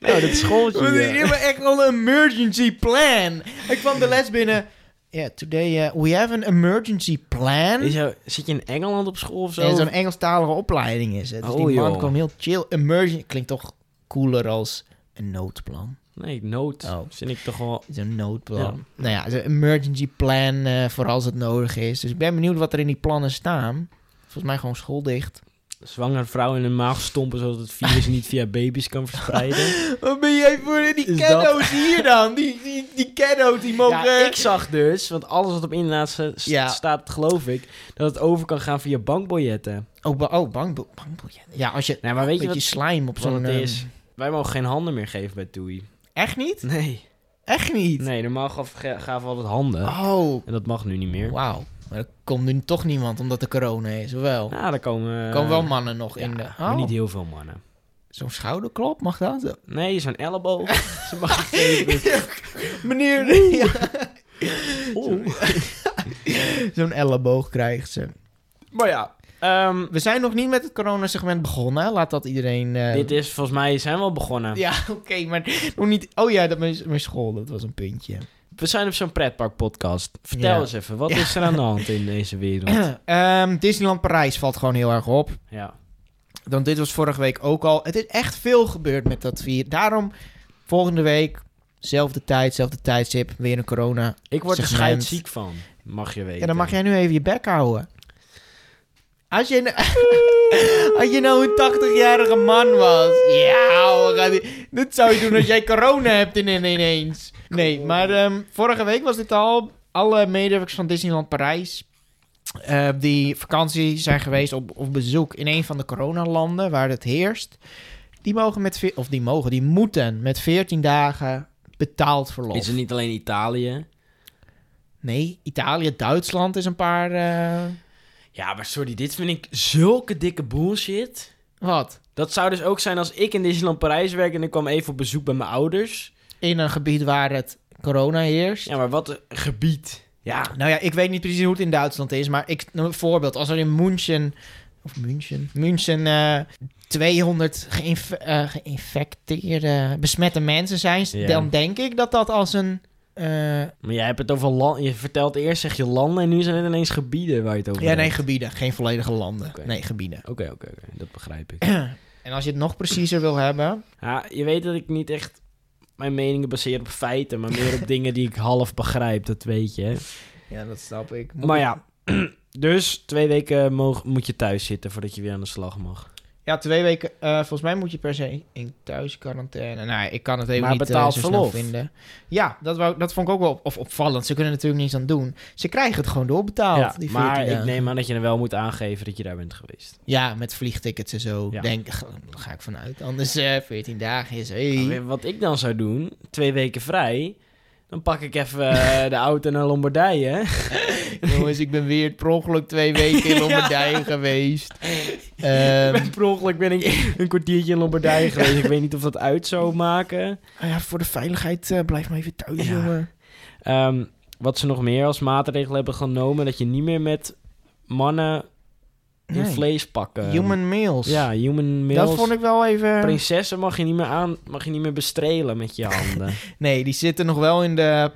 Nou, dat schooltje.
We
eh,
hebben echt al een emergency plan. Ik kwam de les binnen. Ja, today eh, we have an emergency plan.
is jou- zit je in Engeland op school of zo?
En zo'n E- Engelstalige opleiding is het. Dus
Oh,
die man
joh.
kwam heel chill. Emergency klinkt toch cooler als een noodplan.
Nee, nood.
Oh.
Vind ik toch wel...
Zo'n noodplan. Nou ja, zo'n emergency plan eh, voor als het nodig is. Dus ik ben benieuwd wat er in die plannen staan. Volgens mij gewoon schooldicht.
Zwangere vrouw in een maag stompen... zodat het virus niet via baby's kan
<laughs>
verspreiden.
Wat ben jij voor die
Is dat-
kiddo's hier dan? Die, die, die kiddo's die mogen...
ja, ik zag dus... want alles wat op internet sta- st-
Ja.
staat, geloof ik... dat het over kan gaan via bankbiljetten.
Oh, ba- oh bankbo- bankbiljet. Ja, als je
Nee, maar weet
een
je
beetje
wat,
slime op
wat
zo'n...
het
ehm,
is? Wij mogen geen handen meer geven bij Toei.
Echt niet?
Nee.
Echt niet?
Nee, normaal gaf- ge- gaven we altijd handen.
Oh,
En dat mag nu niet meer.
wauw. Maar er komt nu toch niemand omdat er corona is, of wel?
Ja, daar komen...
Er
eh,
komen wel mannen nog
Ja,
in de...
maar
Oh,
niet heel veel mannen.
Zo'n schouderklop, mag dat?
Nee, zo'n
<laughs>
elleboog. Ze mag niet
Meneer... <laughs> Zo'n elleboog krijgt ze.
Maar ja, ehm,
We zijn nog niet met het coronasegment begonnen. hè? Laat dat iedereen... eh,
dit is volgens mij zijn we al begonnen.
Ja, oké, maar nog niet... Oh ja, dat mijn, mijn school, dat was een puntje.
We zijn op zo'n pretpark podcast. Vertel
Ja.
eens even, wat is er aan de hand in deze wereld?
<clears throat> Ehm, Disneyland Parijs valt gewoon heel erg op.
ja.
Want dit was vorige week ook al. Het is echt veel gebeurd met dat vier. Daarom volgende week, zelfde tijd, zelfde tijdstip, weer een corona.
Ik word er
Segment.
scheidsziek van, mag je weten.
Ja, dan mag jij nu even je bek houden. Als je, <laughs> als je nou een 80-jarige man was. Ja, ouwe, ga die- dit zou je doen als jij corona hebt in- in- ineens. Nee, maar ehm, vorige week was dit al. alle medewerkers van Disneyland Parijs... eh, die vakantie zijn geweest op, op bezoek in een van de coronalanden waar het heerst... die mogen met... veer- of die mogen, die moeten met 14 dagen betaald verlof.
Is het niet alleen Italië?
Nee, Italië, Duitsland is een paar... eh,
Ja, maar sorry, dit vind ik zulke dikke bullshit.
wat?
Dat zou dus ook zijn als ik in Disneyland Parijs werk en ik kwam even op bezoek bij mijn ouders.
In een gebied waar het corona heerst.
Ja, maar wat een gebied. Ja.
Nou ja, ik weet niet precies hoe het in Duitsland is, maar ik, nou, een voorbeeld. Als er in München, of München, München eh, 200 geïnf- eh, geïnfecteerde, besmette mensen zijn,
Ja.
dan denk ik dat dat als een... eh,
Maar jij hebt het over land. Je vertelt eerst zeg je landen en nu zijn het ineens gebieden waar je het over
ja,
hebt.
nee, gebieden. Geen volledige landen.
Oké.
Nee, gebieden.
Oké, oké, oké. Dat begrijp ik. <clears throat>
En als je het nog preciezer wil hebben...
Ja, je weet dat ik niet echt mijn meningen baseer op feiten, maar meer op
<laughs>
dingen die ik half begrijp. Dat weet je. hè.
Ja, dat snap ik.
Maar ja, <clears throat> dus twee weken moog- moet je thuis zitten voordat je weer aan de slag mag.
Ja, twee weken. eh, volgens mij moet je per se in thuisquarantaine. Nou, ik kan het even
Maar
niet eh,
betaald
zo snel
verlof.
vinden. Ja, dat, wou, dat vond ik ook wel op, of opvallend. Ze kunnen er natuurlijk niets aan doen. Ze krijgen het gewoon doorbetaald.
ja,
Oh, die
maar
14
ik
dagen.
neem aan dat je er wel moet aangeven dat je daar bent geweest.
Ja, met vliegtickets en zo.
Ja.
Denk, ga, daar ga ik vanuit. Anders eh 14 dagen is. Hey.
Nou, Wat ik dan zou doen, twee weken vrij, dan pak ik even eh, de auto naar Lombardije.
<laughs> Jongens, ik ben weer per ongeluk twee weken <laughs> in Lombardije <laughs> geweest.
Ik
Ehm,
ben per ongeluk ben ik een kwartiertje in
<laughs>
Lombardije geweest. Ik weet niet of dat uit zou maken.
ah ja, voor de veiligheid eh, blijf maar even thuis,
Ja.
jongen.
Ehm, wat ze nog meer als maatregel hebben genomen, dat je niet meer met mannen in
Nee.
vlees pakken.
Human males.
Ja, human males.
Dat vond ik eh, wel even...
Prinsessen mag je niet meer aan, mag je niet meer bestrelen met
<laughs>
je handen.
Nee, die zitten nog wel in de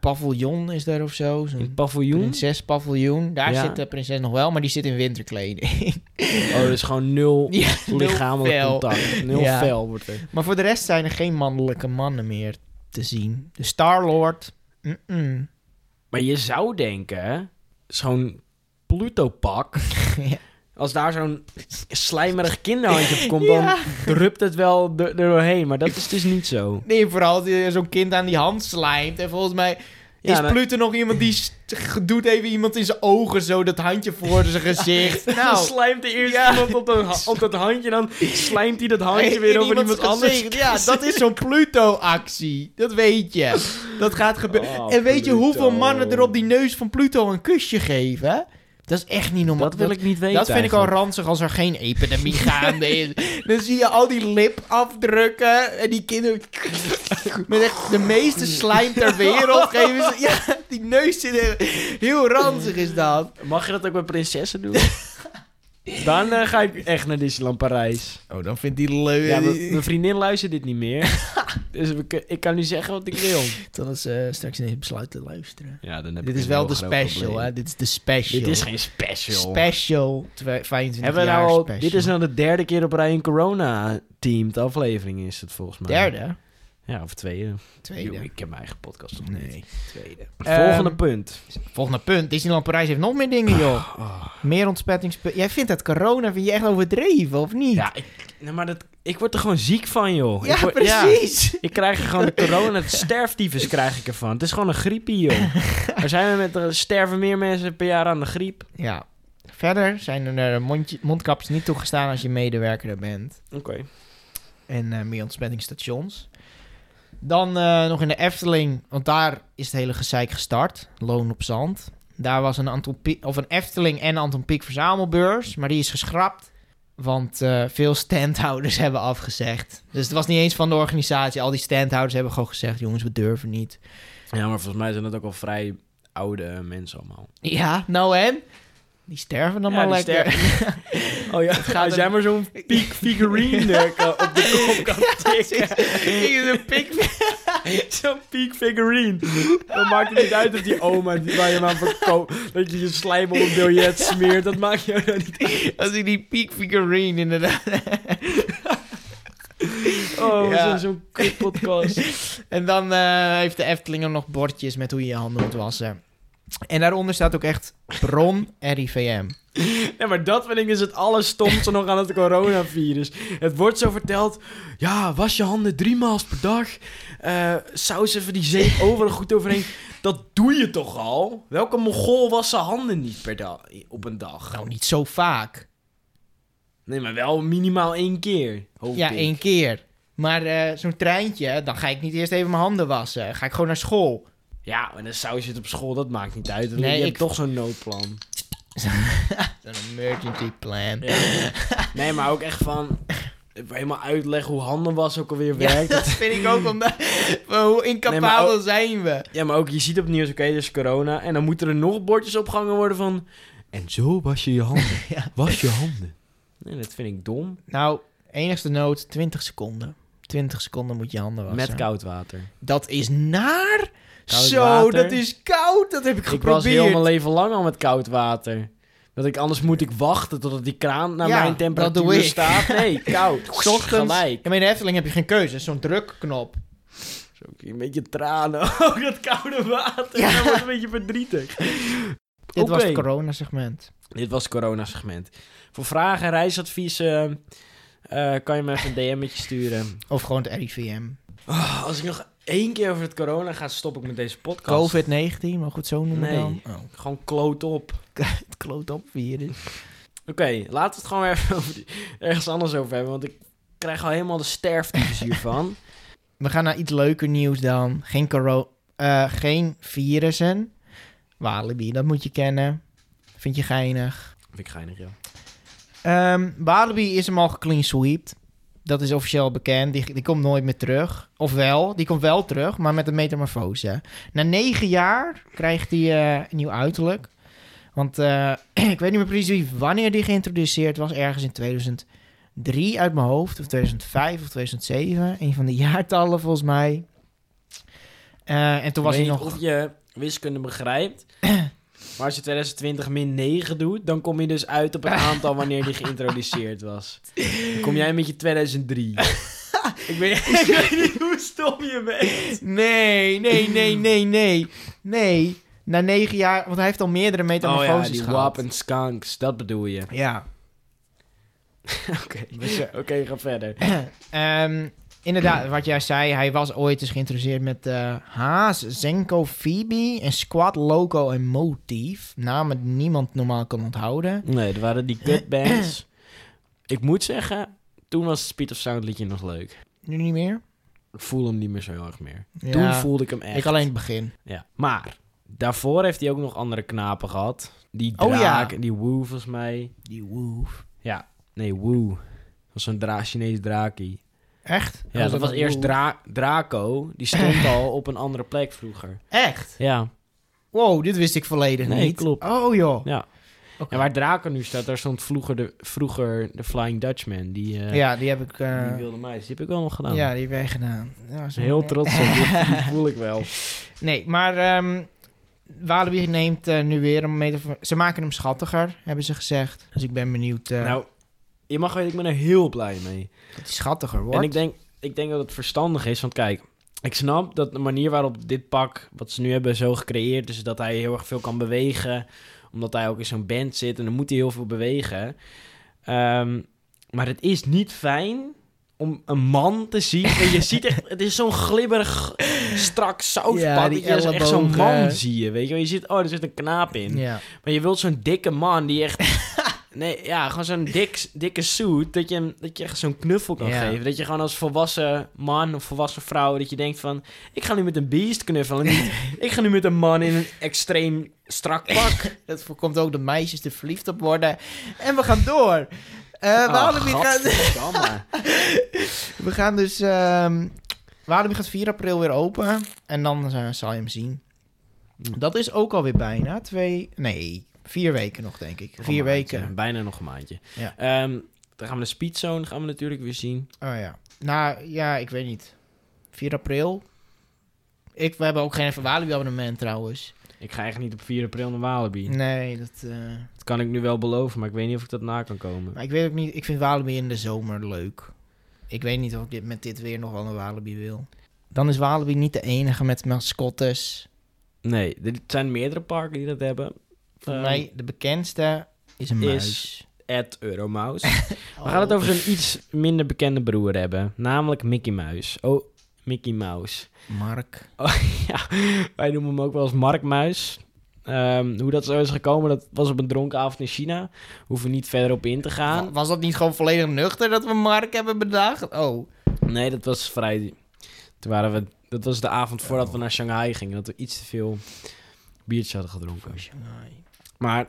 paviljoen, is daar of zo.
In het
Zo'n
paviljoen.
prinsespaviljoen. Daar
Ja.
zit de prinses nog wel, maar die zit in winterkleding. <laughs>
Oh, dus gewoon nul
Ja,
lichamelijk
nul fel.
contact. Nul
Ja.
fel wordt er.
Maar voor de rest zijn er geen mannelijke mannen meer te zien. De Star-Lord. mm-mm. <laughs>
Maar je zou denken, zo'n Pluto-pak,
Ja.
als daar zo'n slijmerig kinderhandje op komt,
<laughs> Ja.
dan drupt het wel er er doorheen. Maar dat is dus niet zo.
Nee, vooral als je zo'n kind aan die hand slijmt. En volgens mij
Ja,
is
dan-
Pluto nog iemand
<laughs>
die st- doet even iemand in zijn ogen zo dat handje voor zijn
<laughs>
gezicht.
Dan
Nou,
slijmt de eerste
Ja.
iemand op, een ha- op dat handje. Dan slijmt hij dat handje
<laughs> In
weer over
iemands
iemand anders.
gezicht. Ja, dat is zo'n Pluto-actie. Dat weet je. Dat gaat gebeuren.
Oh,
en weet je
Pluto.
hoeveel mannen er op die neus van Pluto een kusje geven? Dat is echt niet normaal.
Dat wil ik niet weten.
dat vind ik al ranzig als er geen epidemie <laughs> gaande is. Dan zie je al die lipafdrukken en die
<laughs>
kinderen... Met echt de meeste slijm ter wereld geven ze... Ja, die neus zit er... Heel ranzig is dat.
Mag je dat ook bij prinsessen
<laughs>
doen? Dan eh, ga ik echt naar Disneyland Parijs.
Oh, dan vindt die leuk.
Ja, mijn mijn vriendin luistert dit niet meer. <laughs> dus we kun- ik kan nu zeggen wat ik wil.
Dan is eh, straks ineens besluit te luisteren.
Ja, dan heb
Dit is wel de special, hè? Dit is de special.
Dit is geen special.
special. twe- 25
Hebben we
jaar
nou al,
special.
dit is nou de derde keer op rij een corona-teamed aflevering is het volgens mij.
derde.
Ja, of tweede. Yo,
Tweede.
ik heb mijn eigen podcast nog niet.
Nee, tweede.
Volgende
Ehm,
punt.
volgende punt. Disneyland Parijs heeft nog meer dingen,
<sighs>
joh.
Oh.
Meer ontsmettingspunten. Jij vindt dat corona vind je echt overdreven, of niet?
Ja, ik, nee, Nou, maar dat, ik word er gewoon ziek van, joh.
Ja,
ik word-
precies.
ik krijg er gewoon de corona, de sterftyfus krijg ik ervan. Het is gewoon een griepie,
<laughs>
joh. Er, zijn we met, er sterven meer mensen per jaar aan de griep.
Ja. Verder zijn er eh, mondje, mondkapjes niet toegestaan als je medewerker er bent.
Oké.
En eh, meer ontsmettingstations. Dan eh, nog in de Efteling, want daar is het hele gezeik gestart. Loon op zand. Daar was een, Anton Pie- of een Efteling en Anton Pieck verzamelbeurs, maar die is geschrapt. Want eh, veel standhouders <laughs> hebben afgezegd. Dus het was niet eens van de organisatie. Al die standhouders hebben gewoon gezegd, jongens, we durven niet.
Ja, maar volgens mij zijn dat ook al vrij oude eh, mensen allemaal.
Ja, nou en? Die sterven dan
Ja,
maar
die
lekker. <laughs>
Oh ja,
gaat
als jij
er- <laughs>
maar zo'n piek figurine eh, kan- op de kop kan tikken.
Zo'n pik-
<laughs> Zo'n piek figurine. Dan maakt het niet uit of die oma die waar je maar verkoopt... dat je je slijm op een biljet smeert. Dat maakt jou dan niet
Als ik die peak figurine inderdaad.
Oh,
Ja.
zo'n- zo'n kut podcast.
<laughs> En dan eh, heeft de Efteling ook nog bordjes met hoe je je handen moet wassen. En daaronder staat ook echt bron RIVM.
<laughs> Nee, maar dat vind ik dus het allerstomste nog aan het coronavirus. Het wordt zo verteld, ja, was je handen drie maal per dag. eh saus even die zeep overal goed overheen. Dat doe je toch al? Welke mongool was zijn handen niet per dag, op een dag?
Nou, niet zo vaak.
Nee, maar wel minimaal één keer, hoop
ja,
ik.
één keer. Maar eh, zo'n treintje, dan ga ik niet eerst even mijn handen wassen. Ga ik gewoon naar school.
Ja, en een saus zit op school, dat maakt niet uit. want
Nee,
je
ik-
hebt toch zo'n noodplan.
Een emergency plan.
Nee, maar ook echt van... Helemaal uitleggen hoe handen was ook alweer
<laughs> Ja,
werkt.
dat vind ik ook omdat... <laughs> maar Hoe incapabel
Nee, maar ook-
zijn we?
Ja, maar ook je ziet op het nieuws, oké, dus corona. En dan moeten er nog bordjes opgehangen worden van... En zo was je je <laughs> handen.
Ja.
Was je handen. Nee, dat vind ik dom.
Nou, enigste nood, 20 seconden. 20 seconden moet je handen wassen.
Met koud water.
Dat is naar.
Koud
Zo,
water.
dat is koud. Dat heb ik
Ik was heel
geprobeerd.
mijn leven lang al met koud water. Dat ik, anders moet ik wachten totdat die kraan naar
Ja,
mijn
dat doe
temperatuur
ik.
staat. <laughs> Nee, koud.
S
Ochtends. Gelijk.
Ja, maar in de Efteling heb je geen keuze. Het is Zo'n drukknop.
Zo, een beetje tranen. <laughs> Oh, dat koude water.
Ja.
Dat wordt een beetje verdrietig.
Dit was
Oké.
het corona-segment.
Dit was het corona-segment. Voor vragen, reisadviezen... eh, kan je me even een DM'tje sturen.
Of gewoon het RIVM.
Ah, als ik nog één keer over het corona ga, stop ik met deze podcast.
COVID-19, maar goed zo noemen
Nee.
dan. Oh.
Gewoon kloot op.
Het kloot op virus.
Oké, laten we het gewoon weer even <laughs> over die- ergens anders over hebben. Want ik krijg al helemaal de sterftes hiervan.
We gaan naar iets leuker nieuws dan. Geen, coro- eh, geen virussen. Walibi, dat moet je kennen. Vind je geinig.
<laughs> Vind ik geinig, ja.
Ehm Walibi is hem al geclean sweept. Dat is officieel bekend. Die, die komt nooit meer terug. Of wel, die komt wel terug, maar met een metamorfose. Na negen jaar krijgt hij eh, een nieuw uiterlijk. Want eh, <clears throat> ik weet niet meer precies wie, wanneer die geïntroduceerd was. Ergens in 2003 uit mijn hoofd. Of 2005 of 2007. Een van de <laughs> jaartallen volgens mij. Eh, en toen was
Weet
hij nog...
Of je wiskunde
<clears throat>
begrijpt. Maar als je 2020 min 9 doet, dan kom je dus uit op het aantal wanneer die geïntroduceerd was. Dan kom jij met je
<laughs>
2003. ik, weet, Oh ik weet <laughs> niet hoe stom je bent.
Nee, nee, nee, nee, nee. Nee. Na negen jaar, want hij heeft al meerdere
Oh ja,
metamorfoses
die
gehad.
wap en skunks, dat bedoel
<laughs>
je.
Ja. dus,
Oké, Oké, ga
<clears throat>
verder.
Ehm, inderdaad,
Mm.
wat jij zei, hij was ooit eens geïnteresseerd met eh, Haas, Zenko, Phoebe en Squad, Loco en Motief. Namen die niemand normaal kan onthouden.
Nee, er waren die kutbands. ik moet zeggen, toen was het Speed of Sound liedje nog leuk.
Nu niet meer.
Ik voel hem niet meer zo heel erg meer.
Ja,
Toen voelde ik hem echt.
Ik alleen het begin.
Ja. Maar, daarvoor heeft hij ook nog andere knapen gehad. Die
Oh,
draak
ja.
en die Woo volgens mij.
Die woof.
Nee, Woo. Dat was zo'n dra Chinees draakie.
Echt?
Ja, dat was
een
eerst
woof.
dra Draco. Die stond al op een andere plek vroeger.
Echt?
Ja.
Wow, dit wist ik volledig
Nee,
niet.
klopt.
Oh joh.
ja.
Oké.
En waar Draco nu staat, daar stond vroeger de, vroeger de Flying Dutchman. Die, eh
Ja, die heb ik... eh,
die wilde meisjes. Die heb ik wel nog gedaan.
ja, die heb jij gedaan. Ja,
Ik ben Heel trots op
<laughs>
dit, die voel ik wel.
Nee, maar ehm Walibi neemt eh, nu weer een meter... Ze maken hem schattiger, hebben ze gezegd. Dus ik ben benieuwd eh
Nou, je mag weten, ik ben er heel blij mee.
dat hij schattiger wordt.
En ik denk, ik denk dat het verstandig is, want kijk, ik snap dat de manier waarop dit pak, wat ze nu hebben, zo gecreëerd is, dat hij heel erg veel kan bewegen, omdat hij ook in zo'n band zit en dan moet hij heel veel bewegen. Ehm, maar het is niet fijn om een man te zien. En je ziet echt, het is zo'n glibberig, strak sauspak.
Ja, die
dat je dus echt zo'n
ellebogen.
man zie je, weet je wel. Je ziet, oh, er zit een knaap in.
Ja.
Maar je wilt zo'n dikke man die echt.
<laughs>
Nee, ja, gewoon zo'n dik, dikke suit. Dat je, hem- dat je echt zo'n knuffel kan
Ja.
geven. Dat je gewoon als volwassen man of volwassen vrouw. dat je denkt van. Ik ga nu met een beest knuffelen. en
<laughs>
niet- ik ga nu met een man in een extreem strak
Eh,
pak.
Dat voorkomt ook dat meisjes er verliefd op worden. En we gaan door. Eh
Ah, Oh,
Walibi gaat,
gaat.
we gaan dus... ehm Walibi gaat 4 april weer open. En dan eh, zal je hem zien.
Hm.
Dat is ook alweer bijna twee... Nee, vier weken nog, denk ik. <laughs> Vier weken.
Bijna nog een maandje.
Ja.
Ehm, dan gaan we de speedzone gaan we natuurlijk weer zien.
Oh ja. Nou, ja, ik weet niet. 4 april? Ik, we hebben ook geen Walibi abonnement trouwens.
Ik ga echt niet op 4 april naar Walibi.
Nee, dat... eh,
Dat kan ik nu wel beloven, maar ik weet niet of ik dat na kan komen.
maar ik weet ook niet... Ik vind Walibi in de zomer leuk. Ik weet niet of ik dit, met dit weer nog wel een Walibi wil. Dan is Walibi niet de enige met mascottes.
Nee, er zijn meerdere parken die dat hebben.
Voor
Ehm,
mij de bekendste is een
is-
muis. Oh,
At Euromouse. We gaan het over zijn iets minder bekende broer hebben. Namelijk Mickey Mouse. Oh, Mickey Mouse. Oh,
Mark.
<laughs> Ja, wij noemen hem ook wel eens Mark Muis. Ehm, hoe dat zo is gekomen, dat was op een dronken avond in China. Hoeven we niet verder op in te gaan.
Was dat niet gewoon volledig nuchter dat we Mark hebben bedacht? Oh.
Nee, dat was vrij... Toen waren we... Dat was de avond voordat we naar Shanghai gingen. Dat we iets te veel biertjes hadden gedronken. Maar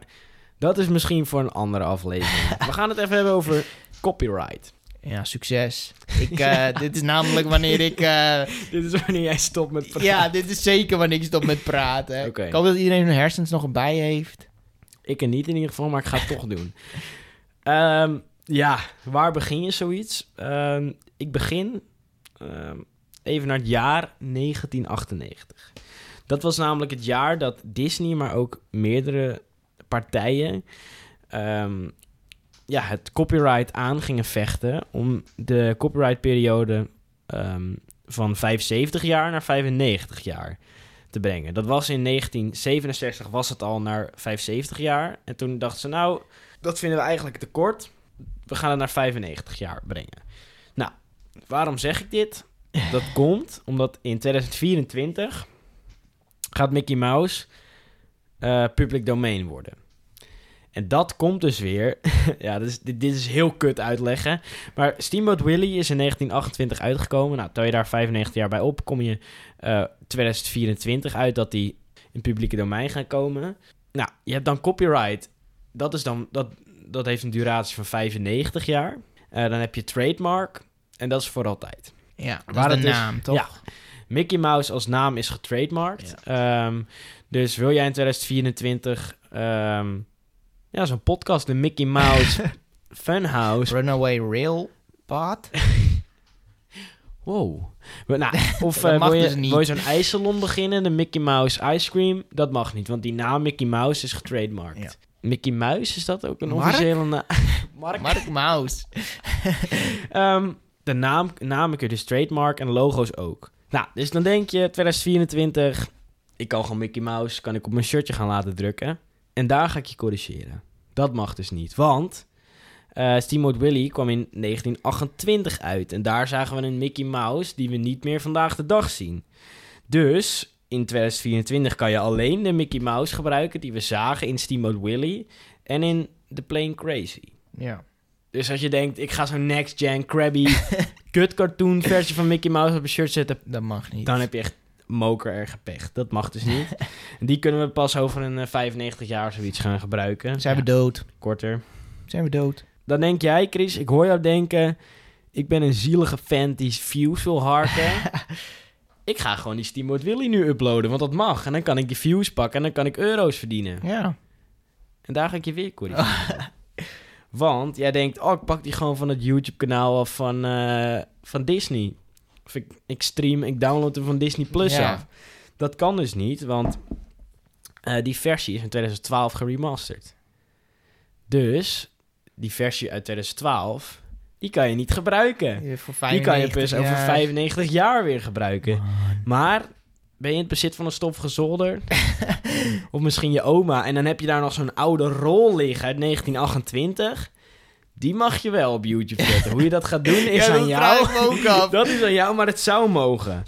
dat is misschien voor een andere aflevering. we gaan het even hebben over copyright.
Ja, succes.
<laughs>
Ik, eh, Dit is namelijk wanneer ik... eh,
Dit is wanneer jij stopt met praten. <laughs>
ja, dit is zeker wanneer ik stop met praten.
Oké.
Ik hoop dat iedereen hun hersens nog bij heeft.
Ik er niet in ieder geval, maar ik ga het toch doen. Ehm, ja, waar begin je zoiets? Ehm, ik begin ehm, even naar het jaar 1998. Dat was namelijk het jaar dat Disney, maar ook meerdere partijen... ehm, ja, het copyright aan gingen vechten om de copyrightperiode ehm, van 75 jaar naar 95 jaar te brengen. Dat was in 1967 was het al naar 75 jaar. En toen dachten ze, nou, dat vinden we eigenlijk te kort. We gaan het naar 95 jaar brengen. Nou, waarom zeg ik dit? Dat komt omdat in 2024 gaat Mickey Mouse eh, public domein worden. En dat komt dus weer. <laughs> ja, dit is, dit, dit is heel kut uitleggen. Maar Steamboat Willie is in 1928 uitgekomen. Nou, tel je daar 95 jaar bij op, kom je eh, 2024 uit dat die in het publieke domein gaan komen. Nou, je hebt dan copyright. Dat, is dan, dat, dat heeft een duratie van 95 jaar. Eh, dan heb je trademark. En dat is voor altijd.
Ja, dat
Waar
is
het
de
is-
naam, toch?
Ja. Mickey Mouse als naam is getrademarkt. Ehm, dus wil jij in 2024 ehm, ja, zo'n podcast, de Mickey Mouse Funhouse.
Runaway Rail Path.
Wow. Maar,
<laughs>
nou, of
Dat
eh,
mag
wil, je,
dus niet.
wil je zo'n ijssalon beginnen, de Mickey Mouse Ice Cream? Dat mag niet, want die naam Mickey Mouse is getrademarkt.
Ja.
Mickey Mouse, is dat ook een
Mark?
officiële naam? Mark.
Mark Mouse.
Ehm, de naam, namen kun je dus trademark en logo's ook. Nou, dus dan denk je 2024, ik kan gewoon Mickey Mouse, kan ik op mijn shirtje gaan laten drukken. En daar ga ik je corrigeren. Dat mag dus niet, want eh Steamboat Willie kwam in 1928 uit. En daar zagen we een Mickey Mouse die we niet meer vandaag de dag zien. Dus in 2024 kan je alleen de Mickey Mouse gebruiken die we zagen in Steamboat Willie en in The Plane Crazy.
Ja.
Dus als je denkt, ik ga zo'n Next Gen Krabby kut cartoon versie van Mickey Mouse op mijn shirt zetten,
Dat mag niet.
dan heb je echt moker erg gepecht. Dat mag dus niet. En Die kunnen we pas over een eh, 95 jaar of zoiets gaan gebruiken.
Zijn we dood?
Korter.
Zijn we dood?
Dan denk jij, Chris, ik hoor jou denken, ik ben een zielige fan die views wil harken. ik ga gewoon die Steamboat Willy nu uploaden, want dat mag. En dan kan ik die views pakken en dan kan ik euro's verdienen.
Ja.
En daar ga ik je weer corrigeren. <laughs> Want jij denkt, oh, ik pak die gewoon van het YouTube-kanaal af van, eh, van Disney. Of ik, ik stream, ik download hem van Disney Plus
Ja.
af. Dat kan dus niet, want eh, die versie is in 2012 geremasterd. Dus die versie uit 2012, die kan je niet gebruiken.
Voor
Die kan je dus
95
over
jaar.
95 jaar weer gebruiken. Maar ben je in het bezit van een stofge
<laughs>
zolder? of misschien je oma. En dan heb je daar nog zo'n oude rol liggen uit 1928. Die mag je wel op YouTube zetten. Hoe je dat gaat doen
<laughs>
is
Ja,
aan
dat
jou.
vraag ik me
<laughs>
ook af.
Dat is aan jou, maar het zou mogen.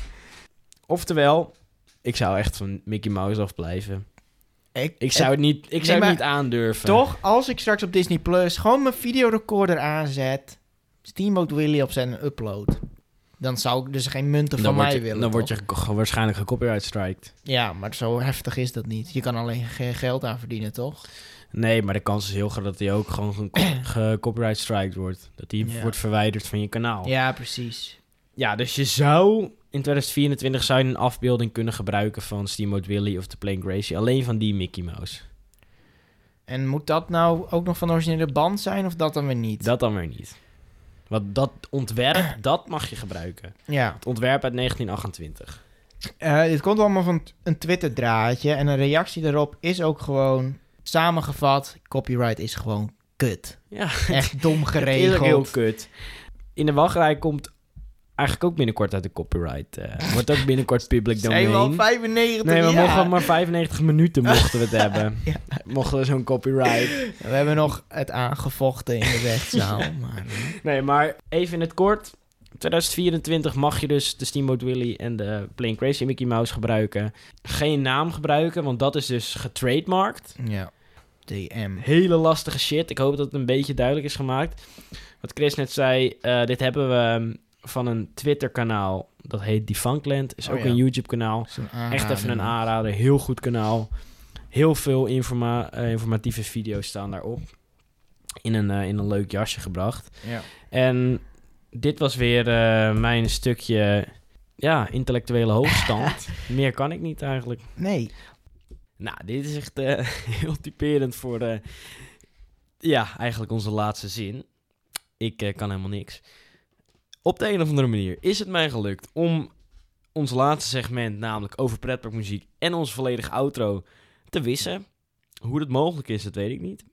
Oftewel, ik zou echt van Mickey Mouse afblijven.
Ik,
Ik zou het niet, ik zou
Nee,
het
maar-
niet aandurven.
Toch, als ik straks op Disney Plus gewoon mijn videorecorder aanzet, Steamboat Willie op zijn upload, dan zou ik dus geen munten
Dan,
van
word
mij
je,
willen.
dan word
toch?
je ge- waarschijnlijk gecopyright striked.
Ja, maar zo heftig is dat niet. Je kan alleen geen geld aan verdienen, toch?
Nee, maar de kans is heel groot dat hij ook gewoon
<clears throat>
ge- gecopyright striked wordt. Dat hij
Ja.
wordt verwijderd van je kanaal.
Ja, precies.
Ja, dus je zou in 2024 zou je een afbeelding kunnen gebruiken van Steamboat Willie of The Plane Gracie. Alleen van die Mickey Mouse.
En moet dat nou ook nog van de originele band zijn of dat dan weer niet?
Dat dan weer niet. Want dat
<clears throat>
ontwerp, dat mag je gebruiken.
Ja.
Het ontwerp uit 1928.
Eh, dit komt allemaal van t- een Twitter-draadje. En een reactie daarop is ook gewoon samengevat: copyright is gewoon kut.
Ja,
Echt dom <laughs>
is ook heel
geregeld.
kut. In de wachtrij komt eigenlijk ook binnenkort uit de copyright.
<laughs>
eh, wordt ook binnenkort public
Zijn we al
domain.
95
Nee, we
jaar?
mochten maar 95 minuten mochten we het
<laughs>
hebben. Mochten we zo'n copyright.
We hebben nog het aangevochten in de <laughs> rechtszaal. maar,
Nee, maar even in het kort. 2024 mag je dus de Steamboat Willie en de Plane Crazy Mickey Mouse gebruiken. Geen naam gebruiken, want dat is dus getrademarkt.
ja. DM.
Hele lastige shit. Ik hoop dat het een beetje duidelijk is gemaakt. Wat Chris net zei, eh, dit hebben we ehm, van een Twitter-kanaal. Dat heet Defunctland. Is
Oh
ook
ja.
een YouTube-kanaal.
Zo'n
Echt even een
aanrader.
aanrader. Heel goed kanaal. Heel veel informa- eh, informatieve video's staan daarop. In een, eh, in een leuk jasje gebracht.
Ja.
En dit was weer eh, mijn stukje ja, intellectuele hoogstand. Meer kan ik niet eigenlijk.
Nee.
Nou, dit is echt eh, <laughs> heel typerend voor de... Ja, eigenlijk onze laatste zin. Ik eh, kan helemaal niks. Op de een of andere manier is het mij gelukt om ons laatste segment, namelijk over pretparkmuziek en onze volledige outro, te wissen. Hoe dat mogelijk is, dat weet ik niet.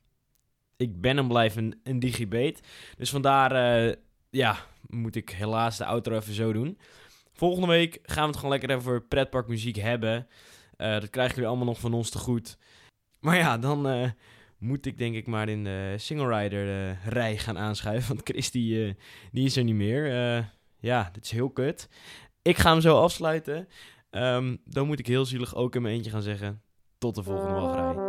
Ik ben en blijf een, een digibate. Dus vandaar, eh, ja, moet ik helaas de outro even zo doen. Volgende week gaan we het gewoon lekker over pretparkmuziek hebben. Eh, dat krijgen jullie allemaal nog van ons te goed. Maar ja, dan eh, moet ik denk ik maar in de single rider eh, rij gaan aanschuiven. Want Chris die, eh, die is er niet meer. Eh, ja, dit is heel kut. Ik ga hem zo afsluiten. Ehm, dan moet ik heel zielig ook in mijn eentje gaan zeggen. Tot de volgende wachtrij.